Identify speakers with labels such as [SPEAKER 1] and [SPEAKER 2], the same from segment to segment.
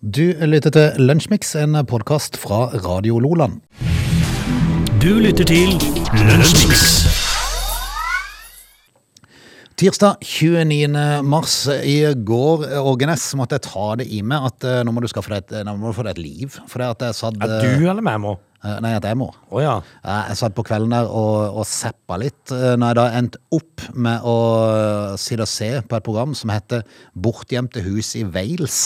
[SPEAKER 1] Du lytter til Lunsjmix, en podkast fra Radio Loland.
[SPEAKER 2] Du lytter til Lunsjmix.
[SPEAKER 1] Tirsdag 29. mars i går, Ågenes, måtte jeg ta det i meg at eh, nå må du skaffe deg et, nå må du få deg et liv. For det at jeg satt
[SPEAKER 2] Er
[SPEAKER 1] eh,
[SPEAKER 2] du eller meg, må?
[SPEAKER 1] eh, Nei, at jeg må.
[SPEAKER 2] Å ja.
[SPEAKER 1] Eh, Jeg satt på kvelden der og, og zappa litt. eh, Når jeg da endte opp med å eh, sitte og se på et program som heter Bortgjemte hus i Wales.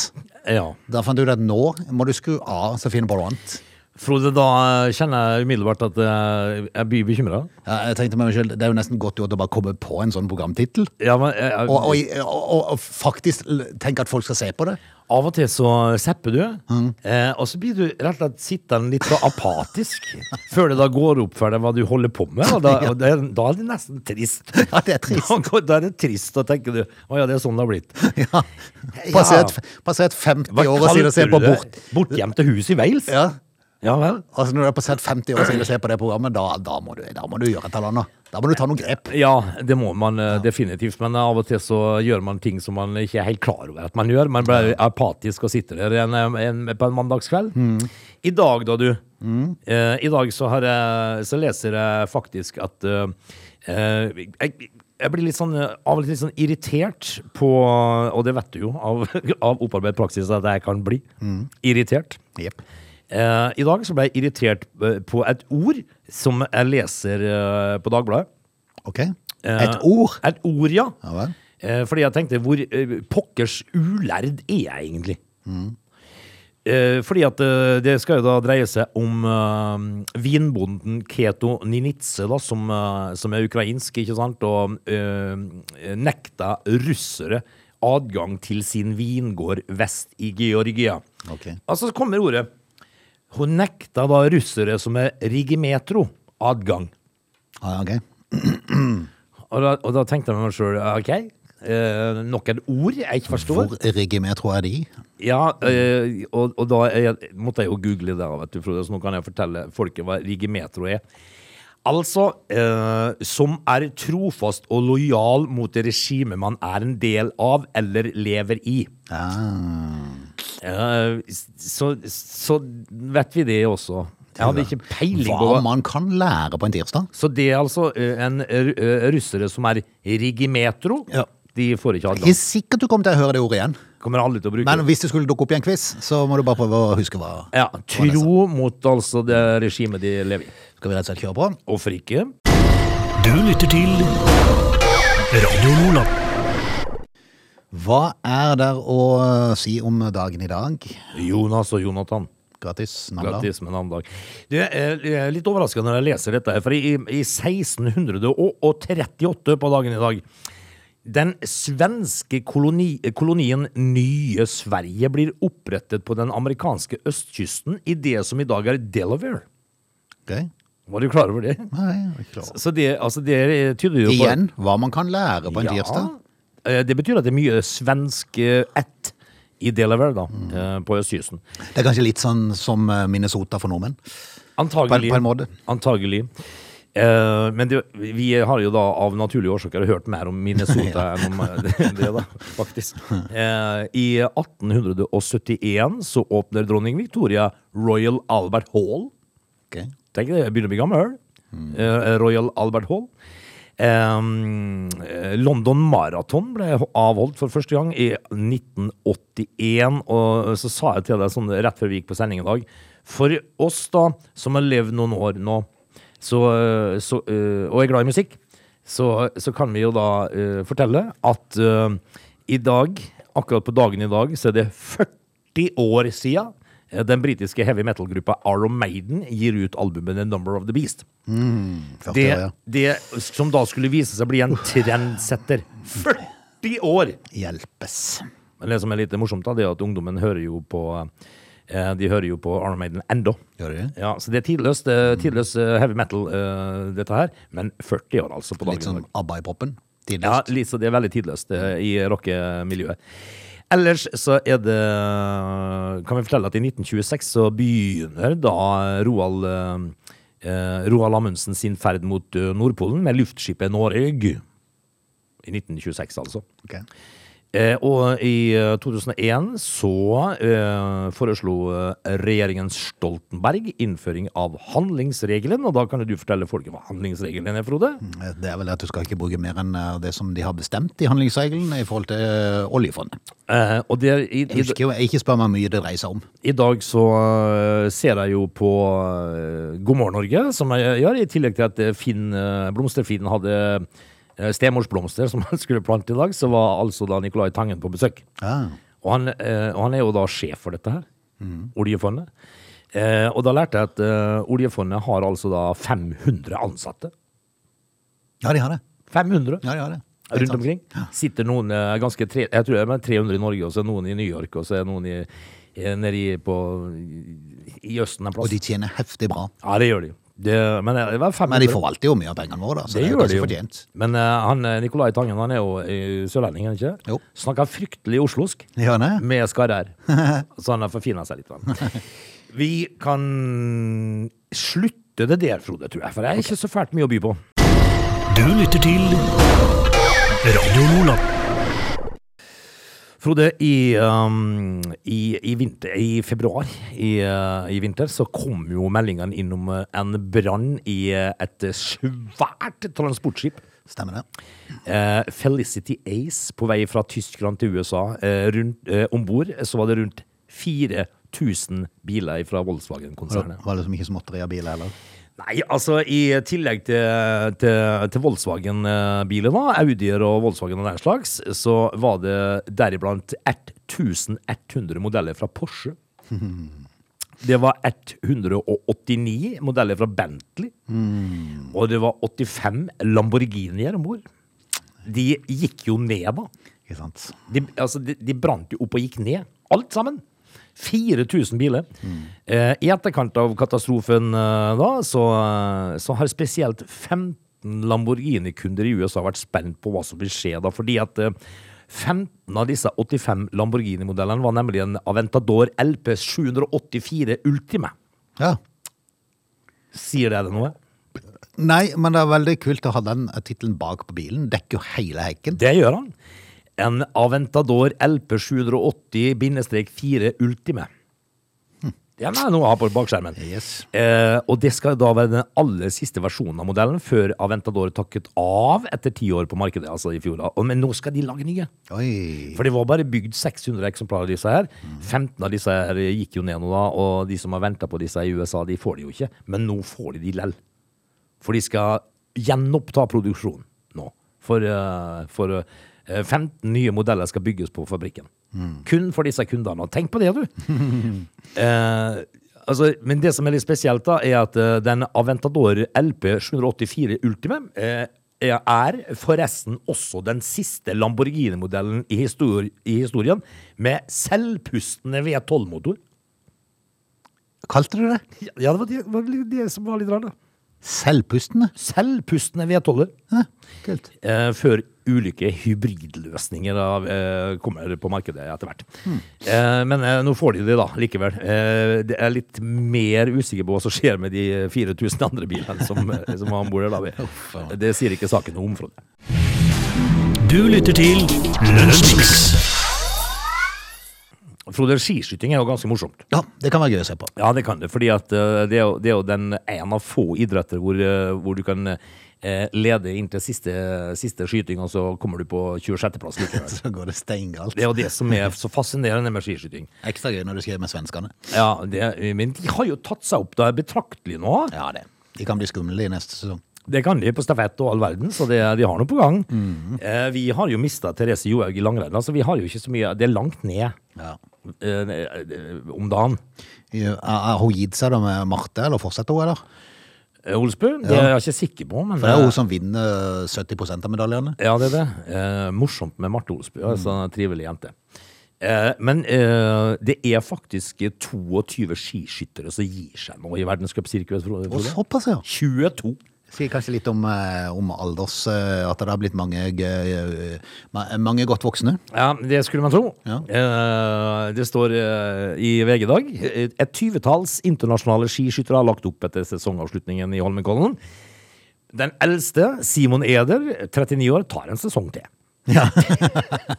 [SPEAKER 2] ja.
[SPEAKER 1] Da fant jeg ut at nå må du skru av så finner på noe annet.
[SPEAKER 2] Frode, da eh, kjenner jeg umiddelbart at eh, jeg blir bekymra.
[SPEAKER 1] Ja, Jeg tenkte meg selv, Det er jo nesten godt gjort å bare komme på en sånn programtittel.
[SPEAKER 2] Ja, men eh, eh,
[SPEAKER 1] Og, og, og, og, og faktisk l- tenke at folk skal se på det.
[SPEAKER 2] av og til så zapper du,
[SPEAKER 1] Mm.
[SPEAKER 2] eh, og så blir du rett og slett sittende litt så apatisk før det da går opp for deg hva du holder på med. Og da, og det, er- da er det nesten trist.
[SPEAKER 1] Ja, det er trist.
[SPEAKER 2] Da, går- da er det trist, da tenker du å ja, det er sånn det har blitt.
[SPEAKER 1] Ja. Passert, passert 50 år og sier å se på bort.
[SPEAKER 2] Bortgjemte hus i Wales?
[SPEAKER 1] Ja.
[SPEAKER 2] ja vel.
[SPEAKER 1] Altså Når du er passert 50 år og sier å se på det programmet, da, da, må du, da må du gjøre et eller annet. Da må du ta noen grep.
[SPEAKER 2] Ja, det må man eh, definitivt. Men av og til så gjør man ting som man ikke er helt klar over at man gjør. Man blir apatisk og sitter der en, eh, en, på en mandagskveld. I dag, da, du. eh, I dag så, har jeg, så leser jeg faktisk at eh, eh, jeg, jeg blir litt sånn, eh, av og til litt sånn irritert på Og det vet du jo av, av opparbeidet praksis at jeg kan bli. Irritert.
[SPEAKER 1] Jepp.
[SPEAKER 2] Eh, I dag så ble jeg irritert eh, på et ord som jeg leser eh, på Dagbladet.
[SPEAKER 1] Ok?
[SPEAKER 2] Eh,
[SPEAKER 1] Et ord.
[SPEAKER 2] Et ord, ja.
[SPEAKER 1] Ja vel.
[SPEAKER 2] Eh, Fordi jeg tenkte, hvor eh, pokkers ulærd er jeg egentlig?
[SPEAKER 1] Mm.
[SPEAKER 2] Eh, Fordi at eh, det skal jo da dreie seg om eh, vinbonden Keto Ninitze, da, som, eh, som er ukrainsk, ikke sant? Og eh, nekta russere adgang til sin vingård vest i Georgia.
[SPEAKER 1] Ok.
[SPEAKER 2] Altså, så kommer ordet. Hun nekta da russere som er regimetro adgang.
[SPEAKER 1] Ja, ok.
[SPEAKER 2] Og da, og da tenkte jeg med meg sjøl OK, eh, nok et ord jeg ikke forstår.
[SPEAKER 1] Hvor regimetro er de?
[SPEAKER 2] Ja, eh, og, og da eh, måtte jeg jo google det, da, vet du, Frode, så nå kan jeg fortelle folket hva rigimetro er. Altså eh, som er trofast og lojal mot det regimet man er en del av eller lever i.
[SPEAKER 1] Ah.
[SPEAKER 2] Eh, s- så, så vet vi det også. Jeg hadde ikke peiling på
[SPEAKER 1] Hva man kan lære på en tirsdag.
[SPEAKER 2] Så det er altså eh, en ru- eh, russere som er rigimetro.
[SPEAKER 1] Ja.
[SPEAKER 2] De får ikke adgang.
[SPEAKER 1] Ikke sikkert du kommer til å høre det ordet igjen.
[SPEAKER 2] Kommer aldri til å bruke
[SPEAKER 1] Men
[SPEAKER 2] det.
[SPEAKER 1] hvis det skulle dukke opp i en quiz, så må du bare prøve å huske hva
[SPEAKER 2] Ja, tro mot altså det regimet de lever i.
[SPEAKER 1] Skal vi rett og slett kjøre på?
[SPEAKER 2] Hvorfor ikke?
[SPEAKER 3] Du lytter til Radio Lola.
[SPEAKER 1] Hva er der å eh, si om dagen i dag?
[SPEAKER 2] Jonas og Jonathan.
[SPEAKER 1] Gratis navndag.
[SPEAKER 2] Grattis med en annen dag. Du, jeg er litt overraska når jeg leser dette, her, for i, i 1638 på dagen i dag den svenske koloni, kolonien Nye Sverige blir opprettet på den amerikanske østkysten i det som i dag er Delaware.
[SPEAKER 1] Ok.
[SPEAKER 2] Var du klar over det?
[SPEAKER 1] Nei, jeg er ikke klar.
[SPEAKER 2] Så det, altså, det tyder jo på
[SPEAKER 1] Igjen, hva man kan lære på en tirsdag.
[SPEAKER 2] Eh, Det betyr at det er mye svensk eh, ett i Delaware, da, eh, på østkysten.
[SPEAKER 1] Det er kanskje litt sånn som eh, Minnesota for nordmenn.
[SPEAKER 2] Antagelig.
[SPEAKER 1] På en- på en måte.
[SPEAKER 2] Antagelig. Eh, men det, vi har jo da av naturlige årsaker hørt mer om Minnesota enn om eh, det, da, faktisk. Eh, I 1871 så åpner dronning Victoria Royal Albert Hall.
[SPEAKER 1] Ok.
[SPEAKER 2] Tenk det, jeg begynner å bli gammel. Eh, Royal Albert Hall. Ehm, eh, London Marathon ble ho- avholdt for første gang i 1981. Og så sa jeg til deg sånn rett før vi gikk på sending i dag For oss da, som har levd noen år nå, så, eh, så, eh, og er glad i musikk, så, så kan vi jo da eh, fortelle at eh, i dag, akkurat på dagen i dag, så er det 40 år sia den britiske heavy metal-gruppa Aron Maiden gir ut albumet The Number of the Beast.
[SPEAKER 1] 40
[SPEAKER 2] Det,
[SPEAKER 1] år, ja.
[SPEAKER 2] det som da skulle vise seg bli en trendsetter. 40 år!
[SPEAKER 1] Hjelpes.
[SPEAKER 2] Men det som er litt morsomt, da, det er at ungdommen hører jo på eh, De hører jo på Aron Maiden ennå.
[SPEAKER 1] Gjør Mm. det det?
[SPEAKER 2] Ja, så det er tidløst, eh, tidløst eh, heavy metal, eh, dette her. Men 40 år, altså, på dagen.
[SPEAKER 1] Litt sånn ABBA i proppen.
[SPEAKER 2] Ja,
[SPEAKER 1] Tidløst.
[SPEAKER 2] Lisa, det er veldig tidløst eh, i rockemiljøet. Ellers så er det Kan vi fortelle at i 1926 så begynner da Roald eh, eh, Roald Amundsen sin ferd mot eh, Nordpolen med luftskipet Noreg. I 1926, altså.
[SPEAKER 1] Ok.
[SPEAKER 2] Eh, og i eh, 2001 så eh, foreslo eh, regjeringen Stoltenberg innføring av handlingsregelen. Og da kan jo du fortelle folket hva handlingsregelen er, Frode.
[SPEAKER 1] Eh, Det er vel at du skal ikke bruke mer enn eh, det som de har bestemt i handlingsregelen i forhold til eh, oljefondet.
[SPEAKER 2] Eh, og det er i,
[SPEAKER 1] Jeg
[SPEAKER 2] i,
[SPEAKER 1] husker jo, ikke spør meg hvor mye det dreier seg om.
[SPEAKER 2] I dag så øh, ser jeg jo på øh, God morgen Norge, som jeg gjør, i tillegg til at øh, Finn, øh, Blomster-Finn hadde øh, stemorsblomster som han skulle plante i dag, så var altså da Nicolai Tangen på besøk.
[SPEAKER 1] Ah.
[SPEAKER 2] Og han, øh, og han er jo da sjef for dette her,
[SPEAKER 1] Mm.
[SPEAKER 2] oljefondet. Eh, og da lærte jeg at øh, oljefondet har altså da 500 ansatte.
[SPEAKER 1] Ja, de har det.
[SPEAKER 2] 500
[SPEAKER 1] Ja, de har det. Det er
[SPEAKER 2] rundt
[SPEAKER 1] sant.
[SPEAKER 2] omkring. Sitter noen eh, ganske tre, Jeg tror det er med 300 i Norge, og så er noen i New York, og så er noen i, eh, nede i, på, i, i Østen en
[SPEAKER 1] Og
[SPEAKER 2] plass.
[SPEAKER 1] de tjener heftig bra.
[SPEAKER 2] ja, det gjør de. Det, men eh, det var 500.
[SPEAKER 1] Men de forvalter jo mye av pengene våre, da, så det,
[SPEAKER 2] det,
[SPEAKER 1] er jo
[SPEAKER 2] gjør de
[SPEAKER 1] ganske
[SPEAKER 2] jo.
[SPEAKER 1] fortjent.
[SPEAKER 2] Men eh, han, eh, Nicolai Tangen han er jo eh, sørlending, er han ikke?
[SPEAKER 1] Jo.
[SPEAKER 2] Snakker fryktelig oslosk.
[SPEAKER 1] De gjør det.
[SPEAKER 2] Med skarrer. Så han har forfina seg litt. vel. Vi kan slutte det der, Frode, tror jeg. For det er ikke så fælt mye å by på.
[SPEAKER 3] Du lytter til Radio Lola.
[SPEAKER 2] Frode, i, um, i, i, vinter, i februar i, uh, i vinter så kom jo meldingene inn om uh, en brann i uh, et svært transportskip.
[SPEAKER 1] Stemmer det.
[SPEAKER 2] Eh, Felicity Ace på vei fra Tyskland til USA. Eh, rundt, eh, Om bord så var det rundt 4000 biler fra
[SPEAKER 1] Og
[SPEAKER 2] Volkswagen-konsernet.
[SPEAKER 1] det var liksom ikke småtteri av bil heller.
[SPEAKER 2] Nei, altså i tillegg til, til, til Volkswagen-biler, da, Audier og Volkswagen og den slags, så var det deriblant 1100 modeller fra Porsche. Det var 189 modeller fra Bentley, og det var 85 Lamborghinier om bord. De gikk jo ned, da.
[SPEAKER 1] Ikke sant?
[SPEAKER 2] De, altså, de, de brant jo opp og gikk ned. Alt sammen. 4000 biler. Eh, I etterkant av katastrofen eh, da, så, eh, så har spesielt 15 Lamborghini-kunder i USA vært spent på hva som vil skje da, fordi at eh, 15 av disse 85 Lamborghini-modellene var nemlig en Aventador LP 784 Ultime.
[SPEAKER 1] Ja.
[SPEAKER 2] Sier det deg noe?
[SPEAKER 1] Nei, men det er veldig kult å ha den eh, tittelen bak på bilen. Dekker jo hele hekken.
[SPEAKER 2] Det gjør han. En Aventador LP 780-4 Ultime. Det er noe å ha på bakskjermen.
[SPEAKER 1] Yes.
[SPEAKER 2] Eh, og det skal da være den aller siste versjonen av modellen før Aventador takket av etter ti år på markedet, altså i fjor. da. Og- Men nå skal de lage nye.
[SPEAKER 1] Oi.
[SPEAKER 2] For det var bare bygd 600 eksemplarer av disse her. 15 av disse her gikk jo ned nå, da, og de som har venta på disse i USA, de får de jo ikke. Men nå får de de lell. For de skal gjenoppta produksjonen nå. For, eh, for eh, 15 nye modeller skal bygges på fabrikken. Kun for disse kundene. Og tenk på det, du! Eh, altså, men det som er litt spesielt, da, er at eh, den Aventador LP 784 Ultime eh, er- er forresten også den siste Lamborghini-modellen i, histori i historien med selvpustende V12-motor.
[SPEAKER 1] Kalte du det?
[SPEAKER 2] Ja, det var det, var litt det som var litt rart, da.
[SPEAKER 1] Selvpustende?
[SPEAKER 2] Selvpustende V12-er.
[SPEAKER 1] Hæ? Kult.
[SPEAKER 2] Eh, før ulike hybridløsninger av, eh, kommer på markedet etter hvert. Eh, men eh, nå får de det, da, likevel. Eh, det er litt mer usikker på hva som skjer med de 4000 andre bilene som, eh, som var om bord der. da. Det sier ikke saken noe om, Frode.
[SPEAKER 3] Du lytter til Lunsjmix.
[SPEAKER 2] Frode, skiskyting er jo ganske morsomt.
[SPEAKER 1] Ja, det kan være gøy å se på.
[SPEAKER 2] Ja, det kan det. fordi at eh, det er jo, det er jo den en av få idretter hvor, eh, hvor du kan eh, lede inn til siste, siste skyting, og så kommer du på 26.-plass likevel.
[SPEAKER 1] Så går det steingalt.
[SPEAKER 2] Det er jo det som er så fascinerende med skiskyting.
[SPEAKER 1] Ekstra gøy når du skriver med svenskene.
[SPEAKER 2] Ja, det, men de har jo tatt seg opp da betraktelig nå.
[SPEAKER 1] Ja, det. De kan bli skumle i neste sesong.
[SPEAKER 2] Det kan de på stafett og all verden, så det, de har noe på gang.
[SPEAKER 1] Mhm.
[SPEAKER 2] Eh, vi har jo mista Therese Johaug i langrenn, så vi har jo ikke så mye Det er langt ned
[SPEAKER 1] Ja.
[SPEAKER 2] eh, eh, om dagen.
[SPEAKER 1] Ja, Har hun gitt seg da med Marte, eller fortsetter hun, eller?
[SPEAKER 2] Eh, Olsbu, det er jeg ikke sikker på, men
[SPEAKER 1] For det er
[SPEAKER 2] eh,
[SPEAKER 1] hun som vinner 70 av medaljene.
[SPEAKER 2] Ja, det er det. Eh, morsomt med Marte Olsbu, altså
[SPEAKER 1] Mm.
[SPEAKER 2] en trivelig jente. Eh, men eh, det er faktisk 22 skiskyttere som gir seg nå i verdenscupsirkuset, Frode.
[SPEAKER 1] Og såpass, ja.
[SPEAKER 2] 22!
[SPEAKER 1] Sier kanskje litt om, eh, om alders eh, At det har blitt mange, gøy, eh, ma- mange godt voksne.
[SPEAKER 2] Ja, det skulle man tro.
[SPEAKER 1] Ja.
[SPEAKER 2] Eh, det står eh, i VG i dag et tyvetalls internasjonale skiskyttere har lagt opp etter sesongavslutningen i Holmenkollen. Den eldste, Simon Eder, 39 år, tar en sesong til.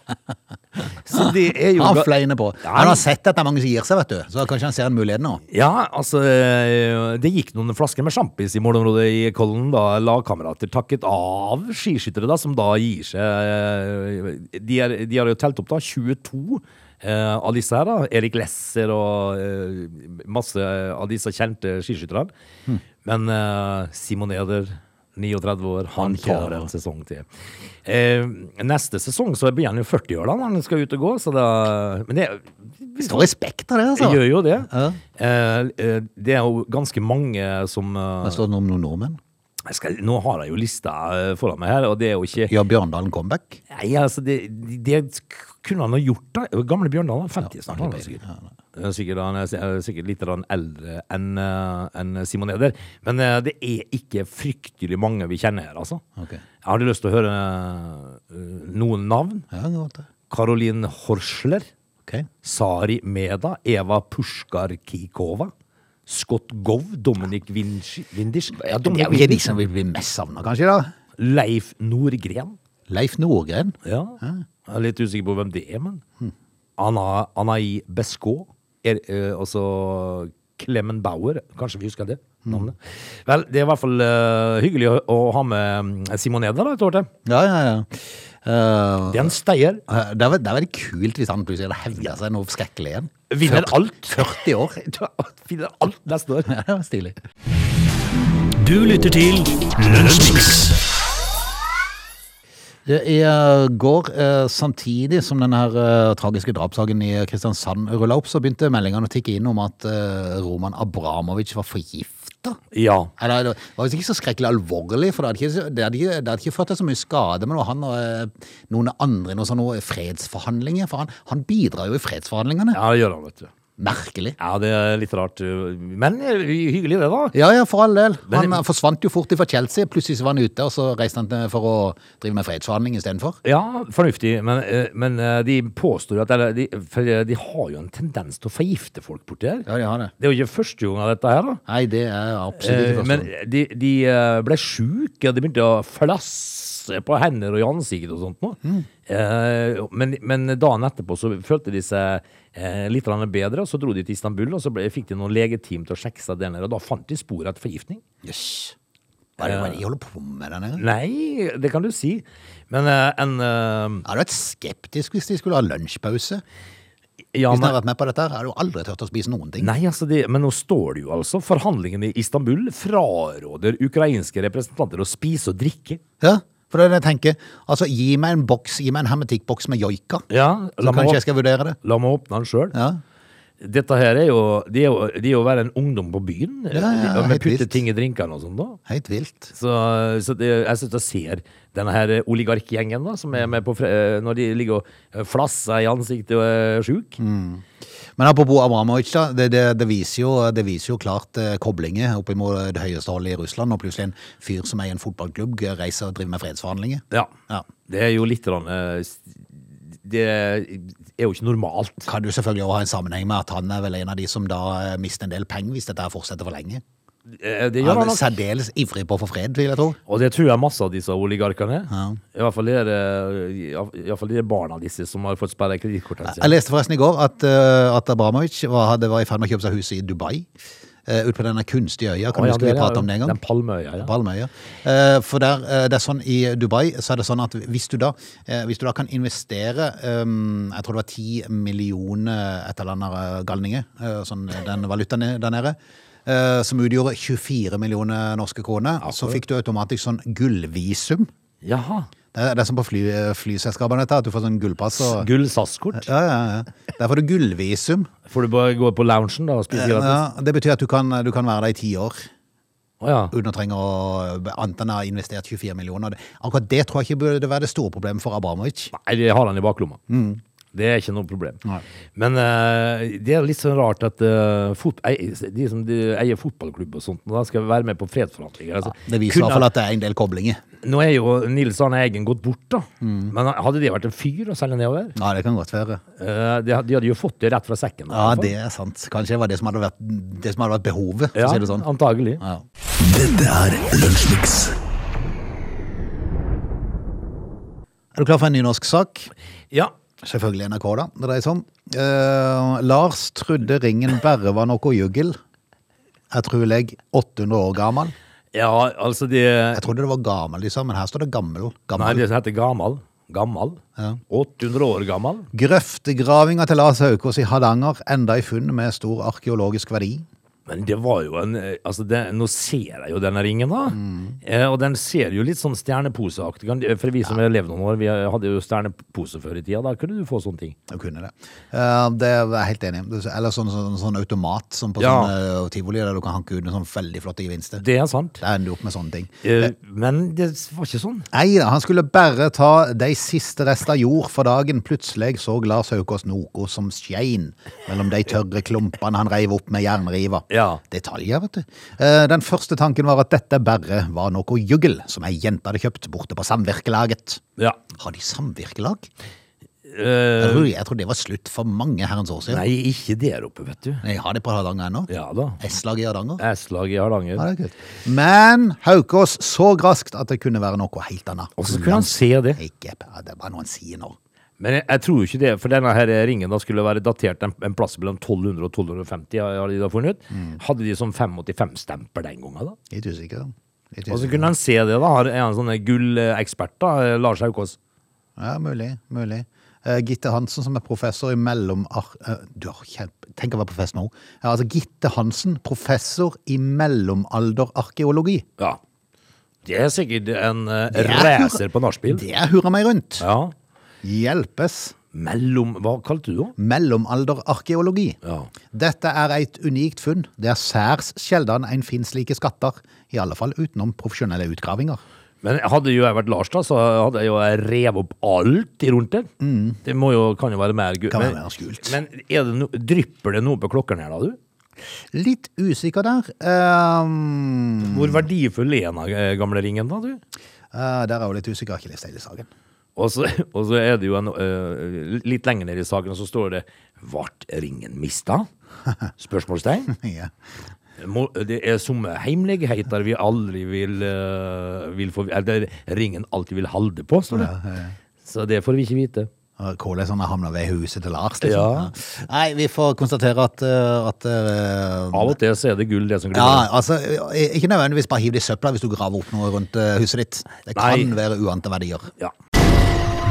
[SPEAKER 2] Så det er jo
[SPEAKER 1] Han
[SPEAKER 2] ga-
[SPEAKER 1] fleier på.
[SPEAKER 2] Ja,
[SPEAKER 1] Han
[SPEAKER 2] men-
[SPEAKER 1] har sett at det er mange som gir seg, vet du. Så kanskje han ser en mulighet nå.
[SPEAKER 2] Ja, altså eh, Det gikk noen flasker med sjampis i målområdet i Kollen da lagkamerater takket av skiskyttere, da, som da gir seg eh, De, er, de har jo telt opp da 22 eh, av disse her. da Erik Lesser og eh, masse av disse kjente skiskytterne. Men eh, Simon Eder 39 år, han
[SPEAKER 1] Han kjører.
[SPEAKER 2] tar en sesong til. Eh, neste sesong så blir han jo 40 år da når han skal ut og gå, så da Men det
[SPEAKER 1] Står respekt av det, altså.
[SPEAKER 2] gjør jo det.
[SPEAKER 1] Ja.
[SPEAKER 2] Eh, eh, det er jo ganske mange som eh,
[SPEAKER 1] Det står noe om noen nordmenn.
[SPEAKER 2] jeg skal, Nå har jeg jo lista eh, foran meg her, og det er jo ikke
[SPEAKER 1] Gjør Bjørndalen comeback?
[SPEAKER 2] Nei, altså, det, det kunne han ha gjort, da. Gamle Bjørndalen, 50 snart. Han, er sikkert. Eh, Sikkert, han er si- eh, sikkert litt grann eldre enn eh, enn Simon Eder. Men eh, det er ikke fryktelig mange vi kjenner her, altså.
[SPEAKER 1] Ok.
[SPEAKER 2] Har du lyst til å høre eh, noen navn?
[SPEAKER 1] Ja, det var det.
[SPEAKER 2] Caroline Horsler.
[SPEAKER 1] Ok.
[SPEAKER 2] Sari Meda, Eva Pushkar-Kikova, Scott Gov, Dominik Vinci- Windisch ja,
[SPEAKER 1] Det er
[SPEAKER 2] Dominik
[SPEAKER 1] jo ikke de
[SPEAKER 2] Windisch,
[SPEAKER 1] som vil bli mest savna, kanskje, da.
[SPEAKER 2] Leif Nordgren.
[SPEAKER 1] Leif Nordgren.
[SPEAKER 2] Ja. Jeg er litt usikker på hvem det er, men Anna, Anai Beskaud. Er, eh, også Clemen Bauer. Kanskje vi husker det navnet. Vel, det er i hvert fall eh, hyggelig å, å ha med mm, Simon Eder da, et år til.
[SPEAKER 1] Ja, ja, ja. Eh,
[SPEAKER 2] Det er en steier.
[SPEAKER 1] eh, det er vel- det er veldig kult hvis han plutselig hadde hevda seg noe skrekkelig igjen.
[SPEAKER 2] Vinner
[SPEAKER 1] Ført-
[SPEAKER 2] alt.
[SPEAKER 1] 40 år.
[SPEAKER 2] Finner alt neste år.
[SPEAKER 1] Ja, det var stilig.
[SPEAKER 3] Du lytter til Lunsjmix.
[SPEAKER 1] Det er, går eh, samtidig som denne her, eh, tragiske drapssaken i Kristiansand rulla opp, så begynte meldingene å tikke inn om at eh, Roman Abramovic var forgifta.
[SPEAKER 2] Ja.
[SPEAKER 1] Eller, det var visst ikke så skrekkelig alvorlig, for det hadde ikke, det hadde ikke, det hadde ikke ført til så mye skade. Men det var han og eh, noen andre i noen sånne fredsforhandlinger. For han, han bidrar jo i fredsforhandlingene.
[SPEAKER 2] ja, det gjør han, vet du.
[SPEAKER 1] Merkelig.
[SPEAKER 2] Ja, det er litt rart. Men eh, hyggelig det, da.
[SPEAKER 1] Ja, ja, for all del.
[SPEAKER 2] Men-
[SPEAKER 1] Han eh, forsvant jo fort fra Chelsea. Plutselig så var han ute, og så reiste han til- for å drive med fredsforhandling istedenfor.
[SPEAKER 2] Ja, fornuftig, men, eh, men eh, de påstår jo at eller, de, For eh, de har jo en tendens til å forgifte folk borti her.
[SPEAKER 1] Ja, de har det.
[SPEAKER 2] Det er jo ikke første gang av dette her, da.
[SPEAKER 1] Nei, det er absolutt
[SPEAKER 2] Eh,
[SPEAKER 1] ikke
[SPEAKER 2] Men
[SPEAKER 1] første gang.
[SPEAKER 2] de, de eh, ble sjuke, og de begynte å flasse på hender og i ansiktet og sånt noe.
[SPEAKER 1] Mm.
[SPEAKER 2] Eh, Men, men dagen etterpå så følte de seg eh, litt grann bedre, og så dro de til Istanbul, og så ble, fikk de noen legeteam til å sjekke seg der nede, og da fant de spor etter forgiftning.
[SPEAKER 1] Jøss. Hva er det hva er det de holder på med der nede?
[SPEAKER 2] Nei, det kan du si. Men eh, en eh,
[SPEAKER 1] Hadde du vært skeptisk hvis de skulle ha lunsjpause? Hvis
[SPEAKER 2] ja,
[SPEAKER 1] de
[SPEAKER 2] men-
[SPEAKER 1] hadde vært med på dette, her, hadde du aldri turt å spise noen ting.
[SPEAKER 2] Nei, altså det, men nå står det jo altså Forhandlingene i Istanbul fraråder ukrainske representanter å spise og drikke.
[SPEAKER 1] Ja, for det er det jeg tenker. Altså, gi meg en boks, gi meg en hermetikkboks med joika.
[SPEAKER 2] Ja,
[SPEAKER 1] Så
[SPEAKER 2] la meg,
[SPEAKER 1] kanskje jeg
[SPEAKER 2] åp-
[SPEAKER 1] skal vurdere det.
[SPEAKER 2] la meg åpne den sjøl.
[SPEAKER 1] Ja,
[SPEAKER 2] Dette her er jo Det er jo, det er jo å være en ungdom på byen.
[SPEAKER 1] ja,
[SPEAKER 2] eh, med
[SPEAKER 1] helt visst.
[SPEAKER 2] putte ting i drinkene og sånn, da.
[SPEAKER 1] helt vilt.
[SPEAKER 2] Så, så det, jeg syns jeg ser denne her oligarkgjengen da, som er med på fre eh, når de ligger og eh, flasser i ansiktet og er sjuke.
[SPEAKER 1] Mm. Men apropos Abramovic, da, det, det, det, viser jo, det viser jo klart eh, koblinger opp imot det høyeste holdet i Russland, og plutselig en fyr som er i en fotballklubb, eh, reiser og driver med fredsforhandlinger.
[SPEAKER 2] Ja.
[SPEAKER 1] Ja.
[SPEAKER 2] Det er jo litt grann, eh, s- Det er jo ikke normalt.
[SPEAKER 1] Kan du selvfølgelig også ha en sammenheng med at han er vel en av de som da eh, mister en del penger hvis dette her fortsetter for lenge.
[SPEAKER 2] Eh, Det gjør
[SPEAKER 1] Han
[SPEAKER 2] han
[SPEAKER 1] er
[SPEAKER 2] nok.
[SPEAKER 1] særdeles ivrig på å få fred, vil jeg tro.
[SPEAKER 2] Og det tror jeg masse av disse oligarkene er.
[SPEAKER 1] Ja.
[SPEAKER 2] I hvert fall er det i hvert fall de barna disse som har fått sperra kredittkortene
[SPEAKER 1] Jeg
[SPEAKER 2] sine.
[SPEAKER 1] leste forresten i går at, eh, at Abramovic var, hadde, var i ferd med å kjøpe seg hus i Dubai. eh, Ut på denne kunstige øya. Kan
[SPEAKER 2] Å,
[SPEAKER 1] du
[SPEAKER 2] ja,
[SPEAKER 1] huske vi
[SPEAKER 2] det er-
[SPEAKER 1] pratet om det en gang?
[SPEAKER 2] Den palmeøya, ja.
[SPEAKER 1] Palmeøya. Eh, For der, eh, det er sånn i Dubai så er det sånn at hvis du da, eh, hvis du da kan investere um, jeg tror det var 10 millioner et eller annet galninger, eh, sånn den valutaen der nede, eh, som utgjorde 24 millioner norske kroner, så fikk du automatisk sånn gullvisum.
[SPEAKER 2] Jaha.
[SPEAKER 1] Det er, det er som på fly, eh, flyselskapene dette, at du får sånn gullpass. Og,
[SPEAKER 2] Gull SAS-kort.
[SPEAKER 1] ja, ja, ja. Der får du gullvisum.
[SPEAKER 2] Får du bare gå på loungen da og spise gratis?
[SPEAKER 1] Ja, det betyr at du kan, du kan være der i ti år.
[SPEAKER 2] Å ja.
[SPEAKER 1] uten å trenge å annet enn å ha investert 24 millioner. Akkurat det tror jeg ikke burde være det store problemet for Abramovic.
[SPEAKER 2] Nei, det har han i baklomma. Det er ikke noe problem.
[SPEAKER 1] Mm. Nei.
[SPEAKER 2] Men eh, det er litt sånn rart at eh, fot ei- de som de eier fotballklubb og sånt, da skal være med på fredsforhandlinger. Altså,
[SPEAKER 1] Det viser i
[SPEAKER 2] kunne-
[SPEAKER 1] hvert fall at det er en del koblinger.
[SPEAKER 2] Nå er jo Nils Arne Eggen gått bort, da.
[SPEAKER 1] Mm.
[SPEAKER 2] Men hadde det vært en fyr å selge nedover?
[SPEAKER 1] Ja, det kan godt være.
[SPEAKER 2] Eh, de, de hadde jo fått det rett fra sekken.
[SPEAKER 1] Ja, det er sant. Kanskje det var det som hadde vært, det som hadde vært behovet, for
[SPEAKER 2] Ja,
[SPEAKER 1] å si det sånn.
[SPEAKER 2] antagelig.
[SPEAKER 1] Ja.
[SPEAKER 3] Dette er Lunsjmix.
[SPEAKER 1] Er du klar for en nynorsk sak?
[SPEAKER 2] Ja.
[SPEAKER 1] Selvfølgelig NRK, da. Det dreier seg om. Eh, Lars trodde ringen bare var noe juggel. Jeg tror jeg 800 år gammel.
[SPEAKER 2] ja, altså de
[SPEAKER 1] Jeg trodde det var gammel, liksom, men her står det gammel.
[SPEAKER 2] Nei,
[SPEAKER 1] gammel.
[SPEAKER 2] de som heter Gamal. Gammal.
[SPEAKER 1] Ja.
[SPEAKER 2] 800 år gammel.
[SPEAKER 1] Grøftegravinga til Lars Haukås i Hardanger enda i funn med stor arkeologisk verdi.
[SPEAKER 2] Men det var jo en eh, altså det, Nå ser jeg jo denne ringen, da.
[SPEAKER 1] Mm.
[SPEAKER 2] Eh, og den ser jo litt sånn stjerneposeaktig kan- For vi som har levd noen år, vi hadde jo stjernepose før i tida. Da kunne du få sånne ting.
[SPEAKER 1] Jeg kunne det. Eh, det er jeg helt enig i. Eller sånn, sånn, sånn automat som på
[SPEAKER 2] Ja.
[SPEAKER 1] sånn, eh, tivoli, der du kan hanke ut en sånn veldig flotte gevinster.
[SPEAKER 2] Det er sant.
[SPEAKER 1] Der ender du opp med sånne ting.
[SPEAKER 2] Eh, men det var ikke sånn.
[SPEAKER 1] Nei da, han skulle bare ta de siste rest av jord for dagen. Plutselig så Lars Haukås noe som skein mellom de tørre klumpene han reiv opp med jernriva.
[SPEAKER 2] Ja.
[SPEAKER 1] Detaljer, vet du. Eh, Den første tanken var at dette bare var noe juggel som ei jente hadde kjøpt borte på samvirkelaget.
[SPEAKER 2] Ja.
[SPEAKER 1] Har de samvirkelag? Jeg
[SPEAKER 2] Eh,
[SPEAKER 1] tror, jeg tror det var slutt for mange herrens år siden.
[SPEAKER 2] nei, ikke der oppe, vet du.
[SPEAKER 1] Jeg har det på Hardanger ennå.
[SPEAKER 2] Ja da.
[SPEAKER 1] S-lag i Hardanger.
[SPEAKER 2] S-lag i Hardanger.
[SPEAKER 1] Ja, det er kult. Men Haukås så raskt at det kunne være noe helt annet.
[SPEAKER 2] Og så kunne han se det.
[SPEAKER 1] Ikke, ja, det er bare noe han sier nå.
[SPEAKER 2] Men jeg, jeg tror jo ikke det, for denne her ringen da skulle være datert en, en plass mellom 1200 og 1250, har- har de da funnet ut. Hadde de sånn 585-stemper den gangen, da?
[SPEAKER 1] Litt usikker. Litt
[SPEAKER 2] Og så
[SPEAKER 1] usikker.
[SPEAKER 2] kunne han se det, da. Har- Er han sånn gullekspert, da? eh, Lars Haukås.
[SPEAKER 1] Ja, mulig. mulig. Eh, Gitte Hansen, som er professor i mellomar... eh, du har kjempe... Tenk å være professor nå. Ja, altså Gitte Hansen, professor i mellomalderarkeologi.
[SPEAKER 2] Ja. Det er sikkert en uh,
[SPEAKER 1] Det er-
[SPEAKER 2] racer på nachspiel.
[SPEAKER 1] Det er hurra meg rundt.
[SPEAKER 2] Ja.
[SPEAKER 1] Hjelpes.
[SPEAKER 2] Mellom Hva kalte du det?
[SPEAKER 1] Mellomalderarkeologi.
[SPEAKER 2] Ja.
[SPEAKER 1] Dette er et unikt funn. Det er særs sjelden en finnes like skatter. I alle fall utenom profesjonelle utgravinger.
[SPEAKER 2] Men hadde jo jeg vært Lars, da, så hadde jeg jo revet opp alt i rundt der. Det må jo, kan jo være mer gull.
[SPEAKER 1] Mm. Kan være mer skjult.
[SPEAKER 2] Men er det no, drypper det noe på klokken her, da, du?
[SPEAKER 1] Litt usikker der. Ehm,
[SPEAKER 2] Hvor verdifull er den eh, gamle ringen, da, du?
[SPEAKER 1] eh, der er jeg jo litt usikker. Jeg har ikke lest hele saken.
[SPEAKER 2] Og så, og så er det jo en, eh, litt lenger ned i saken, så står det 'Vart ringen mista?' Spørsmålstegn.
[SPEAKER 1] Ja.
[SPEAKER 2] Må, det er somme heimligheter vi aldri vil, eh, vil få Eller ringen alltid vil holde på, står det. Så det får vi ikke vite.
[SPEAKER 1] Og Hvordan sånn, han har hamna ved huset til Lars. Liksom.
[SPEAKER 2] Ja.
[SPEAKER 1] Nei, vi får konstatere at, eh, at eh,
[SPEAKER 2] Av og til så er det gull, det som glipper.
[SPEAKER 1] ja, altså, eh, Ikke nødvendigvis bare hiv det i søpla hvis du graver opp noe rundt eh, huset ditt. Det kan
[SPEAKER 2] Nei.
[SPEAKER 1] være uante verdier.
[SPEAKER 2] Ja.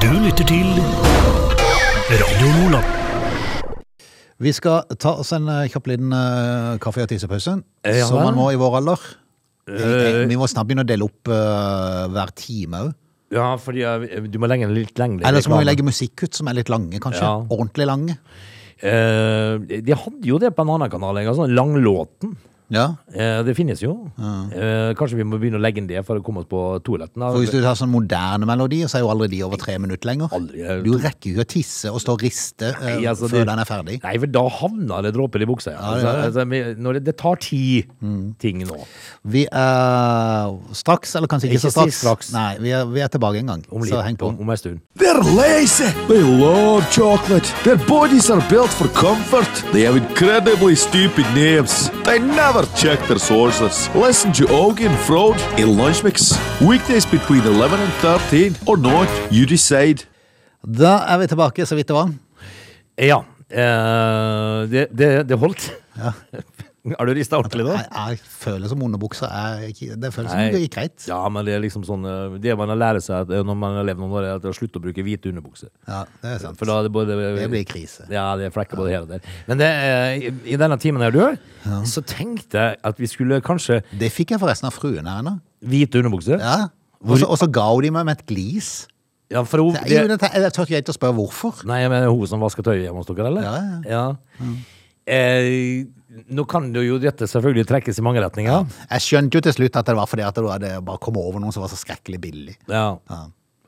[SPEAKER 3] Du lytter til Radio Nordland.
[SPEAKER 1] Vi skal ta oss en eh, kjapp liten eh, kaffe- og tissepause,
[SPEAKER 2] Ja,
[SPEAKER 1] som
[SPEAKER 2] vel.
[SPEAKER 1] man må i vår alder. Vi-
[SPEAKER 2] Eh.
[SPEAKER 1] vi må snart begynne å dele opp eh, hver time òg.
[SPEAKER 2] ja, fordi jeg, du må legge den litt lenger.
[SPEAKER 1] Eller så må vi legge musikkutt som er litt lange, kanskje.
[SPEAKER 2] Ja.
[SPEAKER 1] Ordentlig lange.
[SPEAKER 2] Eh, de hadde jo det på en annen kanal, en gang, sånn Langlåten.
[SPEAKER 1] Ja.
[SPEAKER 2] Eh, det finnes jo. Eh, kanskje vi må begynne å legge inn det for å komme oss på toaletten. Da.
[SPEAKER 1] For hvis du tar sånn moderne melodier, så er jo aldri de over tre minutter lenger.
[SPEAKER 2] Aldri.
[SPEAKER 1] Du rekker jo ikke å tisse og stå og riste eh,
[SPEAKER 2] Nei, altså,
[SPEAKER 1] før
[SPEAKER 2] det-
[SPEAKER 1] den er ferdig.
[SPEAKER 2] Nei, for da havner det dråper i buksa. Ja.
[SPEAKER 1] det Mm.
[SPEAKER 2] Altså, altså, vi- når det, det tar tid, ting nå.
[SPEAKER 1] Vi er straks, eller kanskje ikke,
[SPEAKER 2] Ikke
[SPEAKER 1] så straks.
[SPEAKER 2] si straks.
[SPEAKER 1] Nei, vi er, vi er tilbake en gang,
[SPEAKER 2] Om litt,
[SPEAKER 1] så heng på.
[SPEAKER 2] Om, om en stund.
[SPEAKER 4] They're lazy. They love chocolate. Their bodies are built for comfort. They have incredibly stupid names. They never check their sources. Listen to Augie and Frode in Lunch Mix. Weekdays between 11 and 13 or not, you decide.
[SPEAKER 1] Da er vi tilbake, så vidt det var.
[SPEAKER 2] Eh, Ja. Eh, det, det, det holdt. Har du rista ordentlig nå?
[SPEAKER 1] Jeg, jeg føler som underbuksa er ikke- Det føles
[SPEAKER 2] Nei.
[SPEAKER 1] som altså, det gikk greit.
[SPEAKER 2] Ja, men det er liksom sånn eh, Det man har lært seg at, eh, når man har levd noen år, er at det er å slutte å bruke hvite underbukser.
[SPEAKER 1] Ja, det er sant.
[SPEAKER 2] For da er det både
[SPEAKER 1] Det blir krise.
[SPEAKER 2] Ja, det er flekker både her og der. Men det, eh, i, i denne timen her, du, så tenkte jeg at vi skulle kanskje
[SPEAKER 1] Det fikk jeg forresten av fruen her nå.
[SPEAKER 2] Hvite underbukser?
[SPEAKER 1] Ja. Og så- og så ga hun de meg med et glis.
[SPEAKER 2] Ja, for hun,
[SPEAKER 1] Det er jo
[SPEAKER 2] det,
[SPEAKER 1] det, jeg tør ikke helt å spørre hvorfor.
[SPEAKER 2] nei, men hun som vasker tøyet hjemme hos dere, eller?
[SPEAKER 1] Ja, ja,
[SPEAKER 2] Eh, nå kan det jo dette selvfølgelig trekkes i mange retninger.
[SPEAKER 1] Jeg skjønte jo til slutt at det var fordi at du hadde bare kommet over noen som var så skrekkelig billig.
[SPEAKER 2] Ja.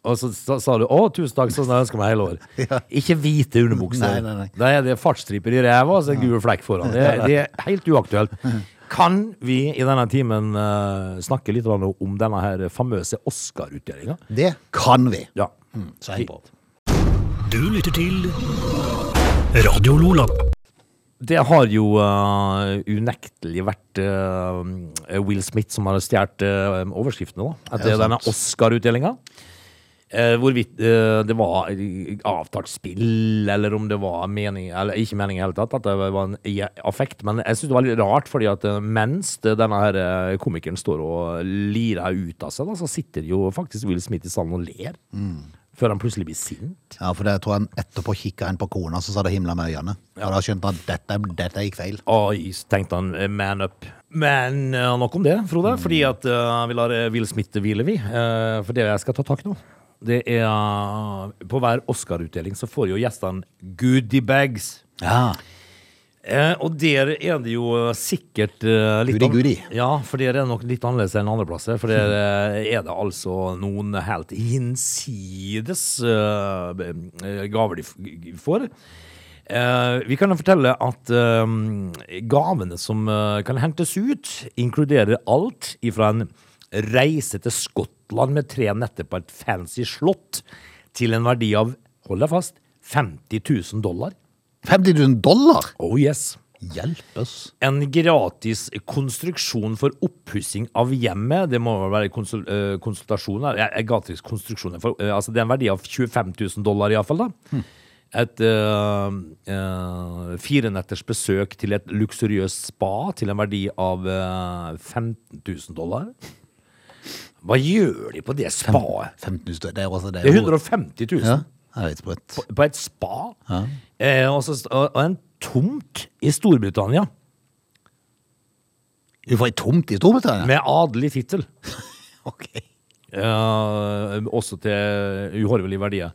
[SPEAKER 2] Og så sa, sa du 'Å, tusen takk, sånn ønsker jeg meg hele år'.
[SPEAKER 1] Ja.
[SPEAKER 2] Ikke hvite underbukser.
[SPEAKER 1] Nei, nei, nei.
[SPEAKER 2] Da er det fartsstriper i ræva og så en gul flekk foran. Det, det er helt uaktuelt. Kan vi i denne timen eh, snakke litt grann om denne her famøse Oscar-utdelinga? Mm.
[SPEAKER 1] Det kan vi.
[SPEAKER 2] Ja.
[SPEAKER 1] Så heng på.
[SPEAKER 3] Du lytter til Radio Nordland.
[SPEAKER 2] Det har jo eh, unektelig vært eh, Will Smith som har stjålet eh, overskriftene da, etter
[SPEAKER 1] Ja, sant.
[SPEAKER 2] denne Oscar-utdelinga. eh, hvorvidt eh, det var eh, avtalt spill, eller om det var mening, eller ikke mening i hele tatt, at det var en i- affekt. Men jeg syns det var litt rart, fordi at eh, mens det- denne her eh, komikeren står og lirer ut av seg, da, så sitter jo faktisk Will Smith i salen og ler.
[SPEAKER 1] Mm.
[SPEAKER 2] Før han plutselig blir sint.
[SPEAKER 1] Ja, for det tror jeg han etterpå kikka inn på kona, så sa det himla med øynene. Og da skjønte han at dette, dette gikk feil.
[SPEAKER 2] Oi, så tenkte han eh, man up. Men eh, nok om det, Frode. Fordi at eh, vi lar eh, Will Smith hvile, vi. Eh, for det jeg skal ta tak nå, det er eh, På hver Oscar-utdeling så får jo gjestene goodiebags.
[SPEAKER 1] Ja.
[SPEAKER 2] Eh, og der er det jo eh, sikkert eh, litt
[SPEAKER 1] Goody,
[SPEAKER 2] an-
[SPEAKER 1] goody.
[SPEAKER 2] Ja, for der er det nok litt annerledes enn andre plasser. For der eh, er det altså noen helt hinsides eh, b- eh, gaver de f- g- får. Eh, vi kan jo fortelle at eh, gavene som eh, kan hentes ut, inkluderer alt ifra en reise til Skottland med tre netter på et fancy slott, til en verdi av, hold deg fast, 50 000 dollar.
[SPEAKER 1] 50 000 dollar!
[SPEAKER 2] Oh yes.
[SPEAKER 1] Hjelpes.
[SPEAKER 2] En gratis konstruksjon for oppussing av hjemmet. Det må vel være konsul, eh, konsultasjon her. Eh, eh, gratis konstruksjon for, eh, altså Det er en verdi av 25 000 dollar, iallfall. da.
[SPEAKER 1] Hm.
[SPEAKER 2] Et eh, eh, firenetters besøk til et luksuriøst spa til en verdi av eh, 15 000 dollar. Hva gjør de på det spaet?
[SPEAKER 1] 15 000, det er også det.
[SPEAKER 2] Det er 150 000
[SPEAKER 1] Ja, jeg vet sprøtt.
[SPEAKER 2] på et spa. Eh, og, så, og og en tomt i Storbritannia.
[SPEAKER 1] Du får ei tomt i Storbritannia?
[SPEAKER 2] Med adelig tittel.
[SPEAKER 1] Ok.
[SPEAKER 2] Eh, også til uhorvelige verdier.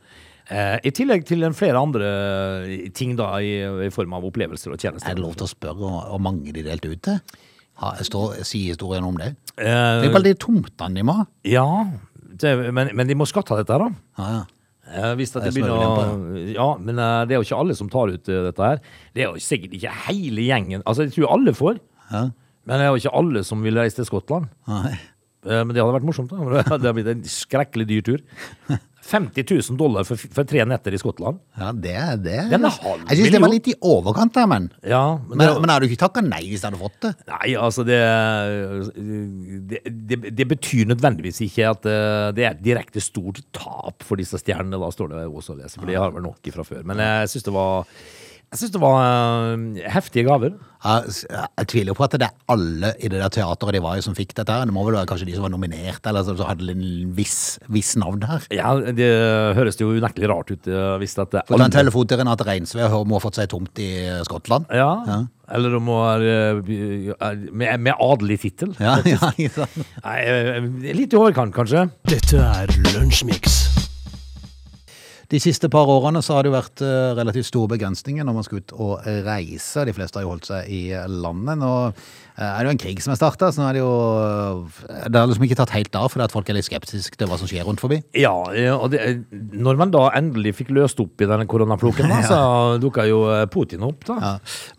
[SPEAKER 2] Eh, I tillegg til en flere andre eh, ting da, i, i form av opplevelser og
[SPEAKER 1] Er
[SPEAKER 2] tjenester.
[SPEAKER 1] det lov til å spørre hvor- hvor mange de delte ut til? Ha, står, si historien om det.
[SPEAKER 2] Eh,
[SPEAKER 1] Tenk på alle de tomtene de må ha.
[SPEAKER 2] ja, det, men, men de må skatte av dette, her, da.
[SPEAKER 1] Ja, ja.
[SPEAKER 2] Eh, hvis at det
[SPEAKER 1] Det er
[SPEAKER 2] begynner å Ja, men eh, det er jo ikke alle som tar ut eh, dette her. Det er jo sikkert ikke hele gjengen. Altså, jeg tror alle får.
[SPEAKER 1] Ja.
[SPEAKER 2] Men det er jo ikke alle som vil reise til Skottland.
[SPEAKER 1] Nei.
[SPEAKER 2] Eh, Men det hadde vært morsomt. da. Det hadde blitt en skrekkelig dyr tur. 50 000 dollar for, for tre netter i Skottland.
[SPEAKER 1] Ja, det er det.
[SPEAKER 2] Den er halv
[SPEAKER 1] Jeg syns det var
[SPEAKER 2] million.
[SPEAKER 1] litt i overkant, der, men.
[SPEAKER 2] Ja, men,
[SPEAKER 1] Men,
[SPEAKER 2] det-
[SPEAKER 1] men hadde du ikke takka nei hvis du hadde fått det?
[SPEAKER 2] Nei, altså det det, det det betyr nødvendigvis ikke at eh, det er et direkte stort tap for disse stjernene, da står det også å lese, for de har vel nok fra før. Men jeg syns det var jeg synes det var eh, heftige gaver.
[SPEAKER 1] Jeg, s- jeg tviler jo på at det er alle i det der teateret de var i som fikk dette. her. Det må vel være kanskje de som var nominert, eller som som hadde en viss, viss navn her.
[SPEAKER 2] Ja, Det høres jo unektelig rart ut eh, hvis at det
[SPEAKER 1] For ta en telefon til Renate Reinsve og hør om hun har fått seg tomt i Skottland.
[SPEAKER 2] ja, Eller om hun er eh, med, med adelig tittel.
[SPEAKER 1] Ja, ja, ikke sant?
[SPEAKER 2] Nei, eh, Litt i overkant, kanskje.
[SPEAKER 3] Dette er Lunsjmix.
[SPEAKER 1] De siste par årene så har det jo vært eh, relativt store begrensninger når man skal ut og reise. De fleste har jo holdt seg i landet. Nå eh, er det jo en krig som er starta, så nå er det jo Det har liksom ikke tatt helt av fordi at folk er litt skeptiske til hva som skjer rundt forbi.
[SPEAKER 2] Ja, eh, og det, når man da endelig fikk løst opp i denne koronafloken, da, så dukka jo eh, Putin opp, da.
[SPEAKER 1] Ja.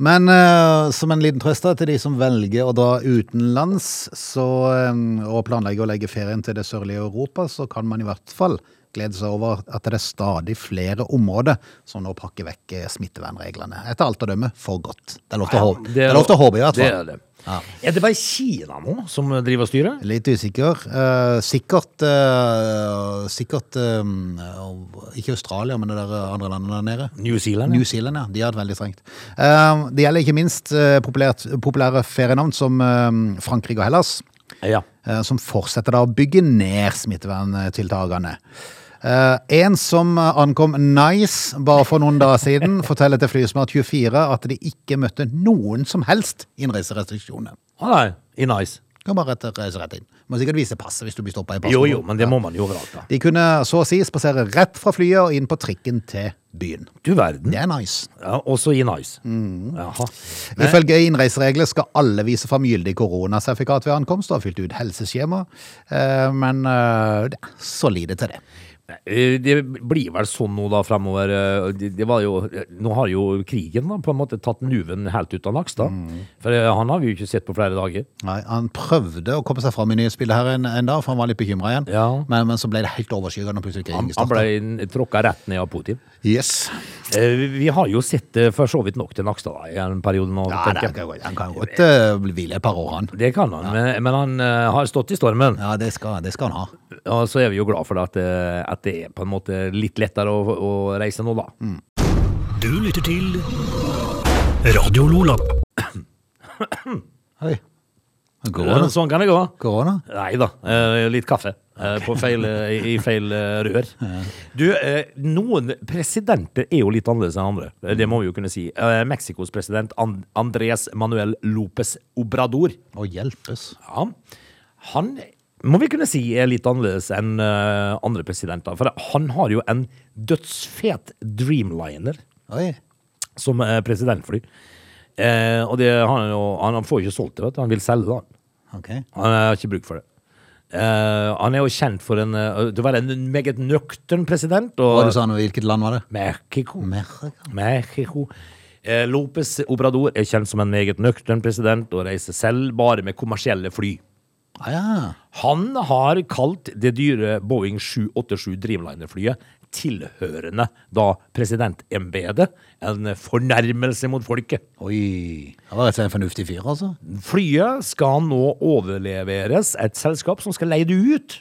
[SPEAKER 1] Men eh, som en liten trøst da, til de som velger å dra utenlands så, eh, og planlegger å legge ferien til det sørlige Europa, så kan man i hvert fall glede seg over at det er stadig flere områder som nå pakker vekk eh, smittevernreglene. Etter alt å dømme for godt. Det er lov til å håpe, det er lov til å håpe i hvert
[SPEAKER 2] Det
[SPEAKER 1] fall.
[SPEAKER 2] er det. Er det bare Kina nå som driver og styrer?
[SPEAKER 1] Litt usikker. Eh, sikkert eh, sikkert eh, Ikke Australia, men det der andre landet der nede.
[SPEAKER 2] New Zealand?
[SPEAKER 1] New Zealand, ja. De har det veldig strengt. Eh, det gjelder ikke minst eh, populært, populære ferienavn som eh, Frankrike og Hellas,
[SPEAKER 2] ja.
[SPEAKER 1] eh, som fortsetter da å bygge ned smitteverntiltakene. Eh, en som ankom Nice bare for noen dager siden, forteller til Flysmart24 at de ikke møtte noen som helst innreiserestriksjoner.
[SPEAKER 2] Å Ah, nei, i Nice.
[SPEAKER 1] Kan bare rett, reise rett inn. Må sikkert vise passet hvis du blir stoppa i passet.
[SPEAKER 2] Jo jo, men det må man jo overalt, da.
[SPEAKER 1] De kunne så å si spasere rett fra flyet og inn på trikken til byen.
[SPEAKER 2] Du verden.
[SPEAKER 1] Det er nice.
[SPEAKER 2] Ja, også i Nice.
[SPEAKER 1] Mm.
[SPEAKER 2] Jaha.
[SPEAKER 1] Ifølge innreiseregler skal alle vise fram gyldig koronasertifikat ved ankomst og ha fylt ut helseskjema, Eh, men eh, det er så lite til det.
[SPEAKER 2] Eh, Det blir vel sånn nå da fremover. eh, Det, det var jo, eh, nå har jo krigen da, på en måte tatt nuven helt ut av laks, da.
[SPEAKER 1] Mm.
[SPEAKER 2] For eh, han har vi jo ikke sett på flere dager.
[SPEAKER 1] Nei, han prøvde å komme seg fram i nyhetsbildet her en, en dag, for han var litt bekymra igjen,
[SPEAKER 2] Ja.
[SPEAKER 1] men, men så ble det helt overskygga når plutselig
[SPEAKER 2] Han,
[SPEAKER 1] krigen
[SPEAKER 2] han
[SPEAKER 1] starta.
[SPEAKER 2] ble tråkka rett ned av Putin.
[SPEAKER 1] Yes.
[SPEAKER 2] Eh, Vi har jo sett eh, for så vidt nok til Nakstad da, i en periode nå.
[SPEAKER 1] Ja, det
[SPEAKER 2] tenker jeg.
[SPEAKER 1] kan, godt- han kan godt eh, hvile et par år, han.
[SPEAKER 2] det kan han, men, men han eh, har stått i stormen.
[SPEAKER 1] Ja, det skal, det skal han ha.
[SPEAKER 2] Og så er vi jo glad for det at, eh, at det er på en måte litt lettere å, å reise nå, da.
[SPEAKER 3] Du lytter til Radio Lola.
[SPEAKER 1] Oi.
[SPEAKER 2] Eh,
[SPEAKER 1] Korona.
[SPEAKER 2] Sånn kan det gå.
[SPEAKER 1] Korona.
[SPEAKER 2] Nei da, eh, litt kaffe. eh, På feil, eh, I feil eh, rør. Du, eh, noen presidenter er jo litt annerledes enn andre. Eh, Det må vi jo kunne si. Eh, Mexicos president An- Andres Manuel Lopez Obrador.
[SPEAKER 1] Å hjelpes.
[SPEAKER 2] Ja, han må vi kunne si er litt annerledes enn eh, andre presidenter. For han har jo en dødsfet Dreamliner
[SPEAKER 1] Oi.
[SPEAKER 2] som eh, presidentfly. Eh, og det, han, er jo- han får ikke solgt det, vet du. Han vil selge det. han.
[SPEAKER 1] Ok.
[SPEAKER 2] Han har ikke bruk for det. Eh, han er jo kjent for en, eh, til å være en meget nøktern president.
[SPEAKER 1] Hva
[SPEAKER 2] Og
[SPEAKER 1] du sa nå, hvilket land var det?
[SPEAKER 2] Mexico.
[SPEAKER 1] Amerika.
[SPEAKER 2] Mexico. Eh, Lopez Obrador er kjent som en meget nøktern president og reiser selv bare med kommersielle fly.
[SPEAKER 1] Ah, ja.
[SPEAKER 2] Han har kalt det dyre Boeing 787 Dreamliner-flyet tilhørende da presidentembedet en fornærmelse mot folket.
[SPEAKER 1] Oi. Han var rett og slett en fornuftig fyr, altså.
[SPEAKER 2] Flyet skal nå overleveres et selskap som skal leie det ut.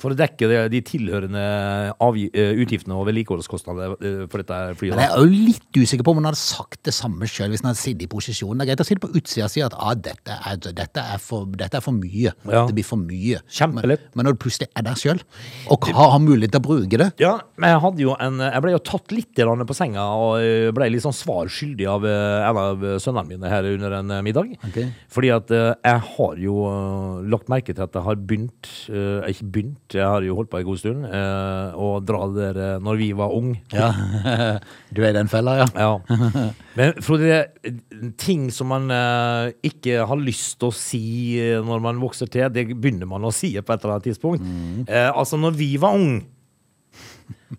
[SPEAKER 2] For å dekke det- de tilhørende avgi- eh, utgiftene og vedlikeholdskostnadene eh, for dette flyet.
[SPEAKER 1] Men jeg
[SPEAKER 2] da.
[SPEAKER 1] er jo litt usikker på om han hadde sagt det samme sjøl hvis han hadde sittet i posisjonen. Det er greit å sitte på utsida og si at ah, dette, er, dette, er for, dette er for mye.
[SPEAKER 2] Ja.
[SPEAKER 1] Det blir for mye.
[SPEAKER 2] Kjempelett.
[SPEAKER 1] Men, men når du plutselig er der sjøl, og har har mulighet til å bruke det
[SPEAKER 2] Ja, men jeg, hadde jo en, jeg ble jo tatt litt grann på senga og eh, ble litt sånn svar skyldig av eh, en av sønnene mine her under en eh, middag.
[SPEAKER 1] Ok.
[SPEAKER 2] Fordi at eh, jeg har jo eh, lagt merke til at jeg har begynt eh, Ikke begynt, jeg har jo holdt på en god stund. eh, Å dra der eh, når vi var unge.
[SPEAKER 1] Du er i den fella, ja.
[SPEAKER 2] Ja. Men Frode, det er ting som man eh, ikke har lyst til å si eh, når man vokser til, det begynner man å si på et eller annet tidspunkt. Eh, altså, når vi var unge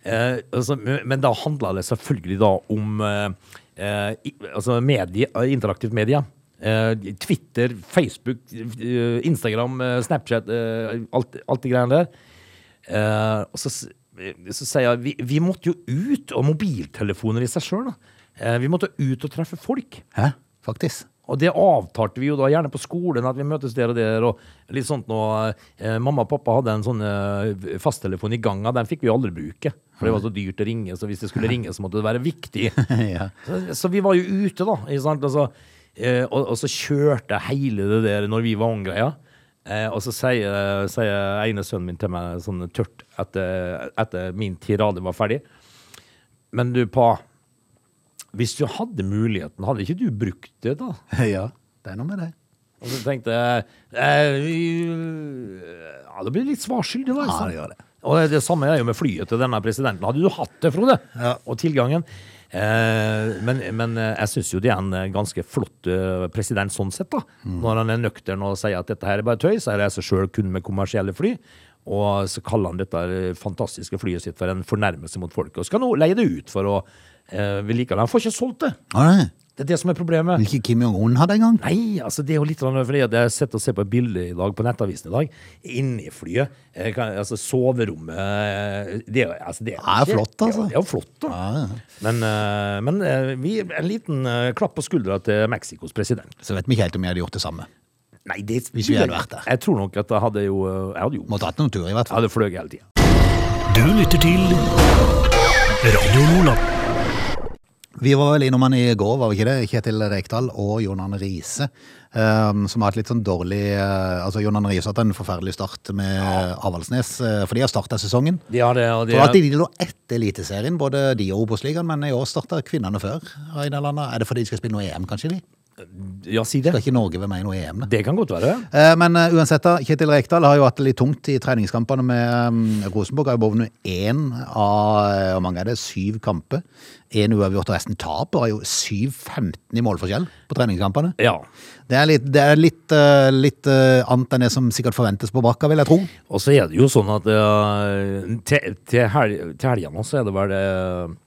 [SPEAKER 2] eh, altså, men- Men da handla det selvfølgelig da om eh, eh, i- altså medie, interaktivt media. Eh, Twitter, Facebook, eh, Instagram, eh, Snapchat, eh, alt, alt de greiene der. Eh, og så, s- så sier jeg vi, vi måtte jo ut, og mobiltelefoner i seg sjøl. Eh, vi måtte ut og treffe folk.
[SPEAKER 1] Hæ? Faktisk.
[SPEAKER 2] Og det avtalte vi jo da gjerne på skolen, at vi møtes der og der. og litt sånt nå, eh, Mamma og pappa hadde en sånn eh, fasttelefon i ganga, den fikk vi jo aldri bruke. For det var så dyrt å ringe, så hvis det skulle ringe, så måtte det være viktig.
[SPEAKER 1] ja.
[SPEAKER 2] Så, så vi var jo ute, da. Ikke sant? Og, så, eh, og, og så kjørte jeg hele det der når vi var unge. Ja. Eh, og så sier, sier ene sønnen min til meg sånn tørt etter, etter min tirade var ferdig. Men du, pa. Hvis du hadde muligheten, hadde ikke du brukt det, da?
[SPEAKER 1] ja. Det er noe med det.
[SPEAKER 2] Og så tenkte jeg eh, vi- Ja, det blir litt svarskyldig, da. ikke
[SPEAKER 1] Ja,
[SPEAKER 2] sant?
[SPEAKER 1] det gjør det.
[SPEAKER 2] Og det, det samme er jo med flyet til denne presidenten. Hadde du hatt det, Frode, og tilgangen eh, men, men eh, jeg syns jo det er en eh, ganske flott eh, president sånn sett, da.
[SPEAKER 1] Mm.
[SPEAKER 2] Når han er nøktern og sier at dette her er bare tøys, jeg reiser sjøl kun med kommersielle fly. Og så kaller han dette eh, fantastiske flyet sitt for en fornærmelse mot folket. Og skal nå leie det ut for å eh, vedlikeholde. Han får ikke solgt det!
[SPEAKER 1] Å, nei.
[SPEAKER 2] Det er det som er problemet.
[SPEAKER 1] Vil ikke Kim Jong-un ha det engang?
[SPEAKER 2] Nei, altså det er jo litt sånn, fordi at jeg har sett og sett på et bilde i dag på nettavisen i dag. Inni flyet. eh, kan- Altså soverommet eh, Det, er jo- altså, det,
[SPEAKER 1] Ja, det er flott, altså.
[SPEAKER 2] Ja, Det er jo flott, da. Men, eh, men eh, vi, en liten eh, klapp på skuldra til Mexicos president.
[SPEAKER 1] Så vet vi ikke helt om jeg hadde gjort det samme.
[SPEAKER 2] Nei, det
[SPEAKER 1] Hvis vi hadde vært der.
[SPEAKER 2] Jeg tror nok at jeg hadde jo eh, Jeg hadde jo
[SPEAKER 1] Må ha tatt noen turer, i hvert
[SPEAKER 2] jeg
[SPEAKER 1] fall.
[SPEAKER 2] hadde fløyet hele tida.
[SPEAKER 3] Du lytter til Radio Lola.
[SPEAKER 1] Vi var vel innom han i går, var vi ikke det? Kjetil Rekdal og Jon Arne Riise. ehm, som har hatt litt sånn dårlig eh, Altså, Jon Arne Riise har hatt en forferdelig start med Avaldsnes, eh, for de har starta sesongen.
[SPEAKER 2] Ja, det, og det,
[SPEAKER 1] For at de lå etter Eliteserien, både de og Obos-ligaen, men i år starta kvinnene før. av en eller annen- Er det fordi de skal spille noe EM, kanskje? de?
[SPEAKER 2] ja, si
[SPEAKER 1] Skal
[SPEAKER 2] det.
[SPEAKER 1] ikke Norge være med i noe EM? da?
[SPEAKER 2] Det kan godt være.
[SPEAKER 1] Eh, Men eh, uansett, da, Kjetil Rekdal har jo hatt det litt tungt i treningskampene med mm, Rosenborg. Har jo vunnet én av eh, hvor mange er det, syv kamper. Én uavgjort og resten tap. Og har jo 7-15 i målforskjell på treningskampene.
[SPEAKER 2] Ja.
[SPEAKER 1] Det er litt, det er litt, eh, litt eh, annet enn det som sikkert forventes på Brakka, vil jeg tro.
[SPEAKER 2] Og så er det jo sånn at eh, til, til, hel, til helgen nå så er det vel uh,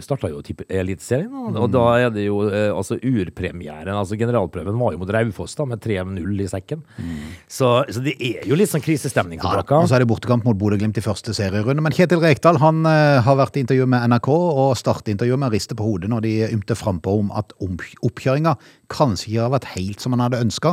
[SPEAKER 2] Starta jo tippe- Eliteserien, og, og da er det jo eh, altså urpremieren. Altså generalprøven var jo mot Raufoss da, med 3-0 i sekken. Så, så det er jo litt sånn krisestemning på
[SPEAKER 1] Ja, altså,
[SPEAKER 2] Brakka.
[SPEAKER 1] og så er det bortekamp mot Bodø-Glimt i første serierunde. Men Kjetil Rekdal han eh, har vært i intervju med NRK, og startintervjuet med å riste på hodet når de ymte frampå om at om- oppkjøringa kanskje ikke har vært helt som han hadde ønska.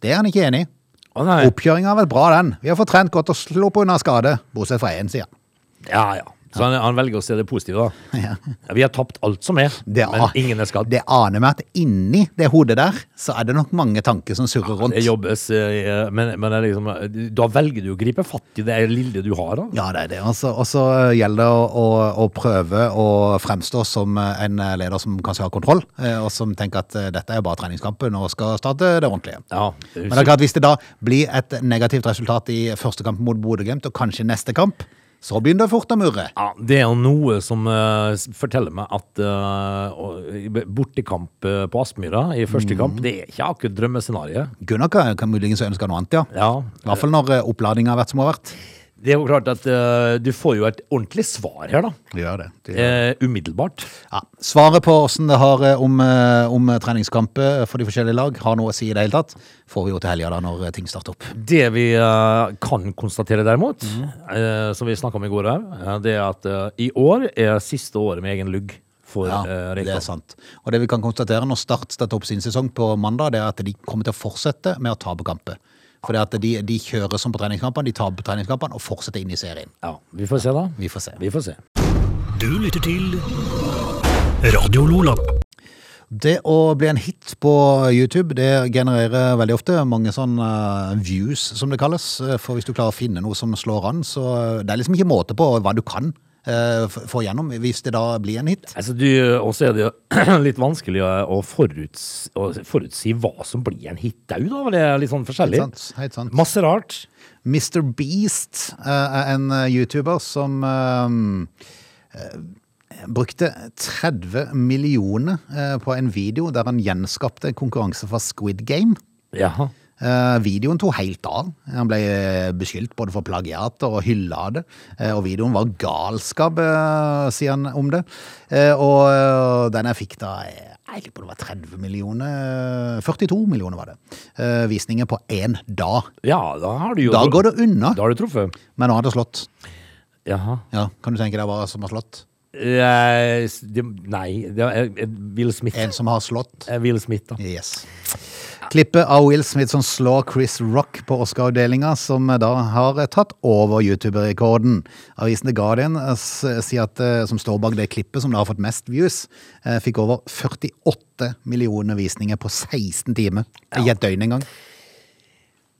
[SPEAKER 1] Det er han ikke enig i.
[SPEAKER 2] Å, nei.
[SPEAKER 1] Oppkjøringa har vært bra, den. Vi har fått trent godt og sluppet unna skade, bortsett fra én, sier han.
[SPEAKER 2] Ja, ja. Så han, han velger å se det positive, da.
[SPEAKER 1] Ja.
[SPEAKER 2] Ja, vi har tapt alt som er,
[SPEAKER 1] Det,
[SPEAKER 2] men
[SPEAKER 1] a-
[SPEAKER 2] ingen er skadd.
[SPEAKER 1] det aner meg at inni det hodet der, så er det nok mange tanker som surrer rundt.
[SPEAKER 2] Det jobbes, eh, men, men det er liksom, eh, da velger du å gripe fatt i det lille du har. da.
[SPEAKER 1] Ja, det er det. Og så- Og så gjelder det å, å, å prøve å fremstå som eh, en leder som kanskje har kontroll, eh, og som tenker at eh, dette er bare treningskampen og skal starte det ordentlige.
[SPEAKER 2] Ja,
[SPEAKER 1] Men det er klart, hvis det da blir et negativt resultat i første kamp mot Bodø-Glimt, og kanskje neste kamp, så begynner det fort å murre.
[SPEAKER 2] Ja, det er jo noe som eh, s- forteller meg at eh, å- b- bortekamp eh, på Aspmyra i første
[SPEAKER 1] Mhm.
[SPEAKER 2] kamp, det er ikke akkurat drømmescenarioet.
[SPEAKER 1] Gunnar kan, kan muligens ønske noe annet, ja.
[SPEAKER 2] Ja,
[SPEAKER 1] I hvert fall når eh, oppladningen har vært som hun har vært.
[SPEAKER 2] det er jo klart at eh, du får jo et ordentlig svar her, da.
[SPEAKER 1] Det gjør det.
[SPEAKER 2] Eh, umiddelbart.
[SPEAKER 1] Ja. Svaret på hvordan det har eh, om, eh, om treningskamper for de forskjellige lag har noe å si i det hele tatt, får vi jo til helga da når eh, ting starter opp.
[SPEAKER 2] Det vi eh, kan konstatere derimot,
[SPEAKER 1] Mhm.
[SPEAKER 2] eh, som vi snakka om i går her, eh, det er at eh, i år er siste året med egen lugg for
[SPEAKER 1] Ja,
[SPEAKER 2] eh,
[SPEAKER 1] det er
[SPEAKER 2] Rekdal.
[SPEAKER 1] sant. Og det vi kan konstatere når Start starter opp sin sesong på mandag, det er at de kommer til å fortsette med å tape kamper. For det at de, de kjører som på treningskampene, de taper treningskampene og fortsetter inn i serien.
[SPEAKER 2] Ja, vi får se, da.
[SPEAKER 1] Vi får se.
[SPEAKER 2] Vi får se.
[SPEAKER 3] Du lytter til Radio Lola.
[SPEAKER 1] Det å bli en hit på YouTube, det genererer veldig ofte mange sånne eh, views, som det kalles. Eh, For hvis du klarer å finne noe som slår an, så eh, det er liksom ikke måte på hva du kan eh, f- få gjennom, hvis det da blir en hit.
[SPEAKER 2] Altså, du, også er det jo litt vanskelig å, å, foruts, å forutsi hva som blir en hit au, da. for Det er litt sånn forskjellig.
[SPEAKER 1] Helt sant, helt sant.
[SPEAKER 2] Masse rart.
[SPEAKER 1] Mr. Beast eh, er en eh, YouTuber som eh, eh, brukte 30 millioner eh, på en video der han gjenskapte en konkurranse fra Squid Game.
[SPEAKER 2] Jaha.
[SPEAKER 1] Eh, videoen tok helt av. Han ble eh, beskyldt både for plagiat og hylla det. Eh, og videoen var galskap, eh, sier han om det. Eh, og eh, den jeg fikk da eh, Jeg lurer på om det var 30 millioner eh, 42 millioner var det. Eh, visninger på én dag.
[SPEAKER 2] Ja, da har du jo
[SPEAKER 1] Da går det unna.
[SPEAKER 2] Da har du truffet.
[SPEAKER 1] Men nå har det slått.
[SPEAKER 2] Jaha.
[SPEAKER 1] Ja, Kan du tenke deg hva som har slått?
[SPEAKER 2] Eh, s- det, nei, det er eh, Will Smith.
[SPEAKER 1] En som har slått?
[SPEAKER 2] Eh, Will Smith, da.
[SPEAKER 1] Yes. Klippet av Will Smith som slår Chris Rock på Oscar-avdelinga, som da har eh, tatt over YouTube-rekorden. Avisen The Guardian eh, s- sier at, eh, som står bak det klippet som da har fått mest views, eh, fikk over 48 millioner visninger på 16 timer. I et døgn engang.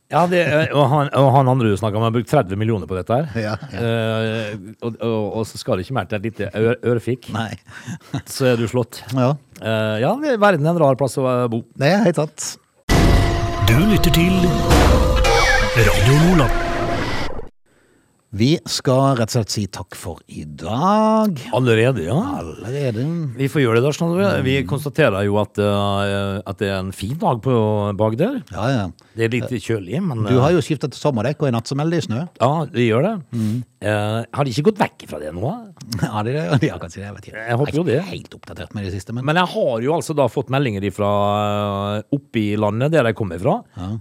[SPEAKER 2] Ja, det, eh, og, han, og han andre du snakka om, har brukt 30 millioner på dette her.
[SPEAKER 1] Ja, ja.
[SPEAKER 2] Eh, og, og, og så skal det ikke mer til et lite øre, ørefik,
[SPEAKER 1] Nei.
[SPEAKER 2] så er du slått.
[SPEAKER 1] Ja,
[SPEAKER 2] Eh, ja, det- verden er en rar plass å eh, bo.
[SPEAKER 1] det er helt sant.
[SPEAKER 3] Du lytter til Radio Lola.
[SPEAKER 1] Vi skal rett og slett si takk for i dag.
[SPEAKER 2] Allerede, ja.
[SPEAKER 1] Allerede.
[SPEAKER 2] Vi får gjøre det, da. Snorre. Vi konstaterer jo at, eh, at det er en fin dag på Bagder.
[SPEAKER 1] Ja, ja.
[SPEAKER 2] Det er litt kjølig, men eh,
[SPEAKER 1] Du har jo skifta til sommerdekk, og i natt så melder de snø.
[SPEAKER 2] Ja, det gjør det. Eh, har de ikke gått vekk fra det nå? da?
[SPEAKER 1] Ja, de, de har kanskje det. Jeg vet ikke.
[SPEAKER 2] Jeg håper jo det.
[SPEAKER 1] er ikke helt oppdatert med det siste, men,
[SPEAKER 2] Men jeg har jo altså da fått meldinger fra oppe i landet, der jeg kommer fra.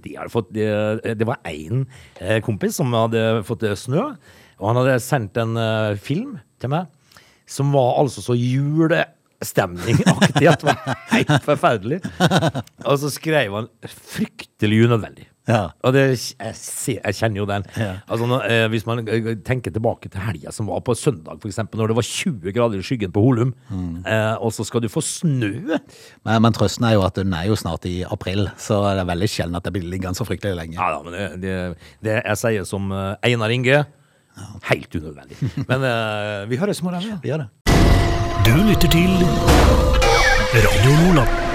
[SPEAKER 2] De hadde fått, eh, det var én eh, kompis som hadde fått eh, snø, og han hadde sendt en eh, film til meg som var altså så julestemningaktig at det var helt forferdelig. Og så skrev han fryktelig unødvendig.
[SPEAKER 1] Ja.
[SPEAKER 2] Og det, jeg, ser, jeg kjenner jo den. Altså, når, eh, hvis man eh, tenker tilbake til helga som var på søndag, for eksempel, når det var 20 grader i skyggen på Holum, eh, og så skal du få snø!
[SPEAKER 1] men, men trøsten er jo at den er jo snart i april, så det er veldig sjelden at det blir liggende så fryktelig lenge.
[SPEAKER 2] Ja, ja, men det, det, det jeg sier som eh, Einar Inge, helt unødvendig. Men eh, vi høres i morgen. Ja.
[SPEAKER 1] Vi gjør det.
[SPEAKER 3] Du lytter til Radio Lola.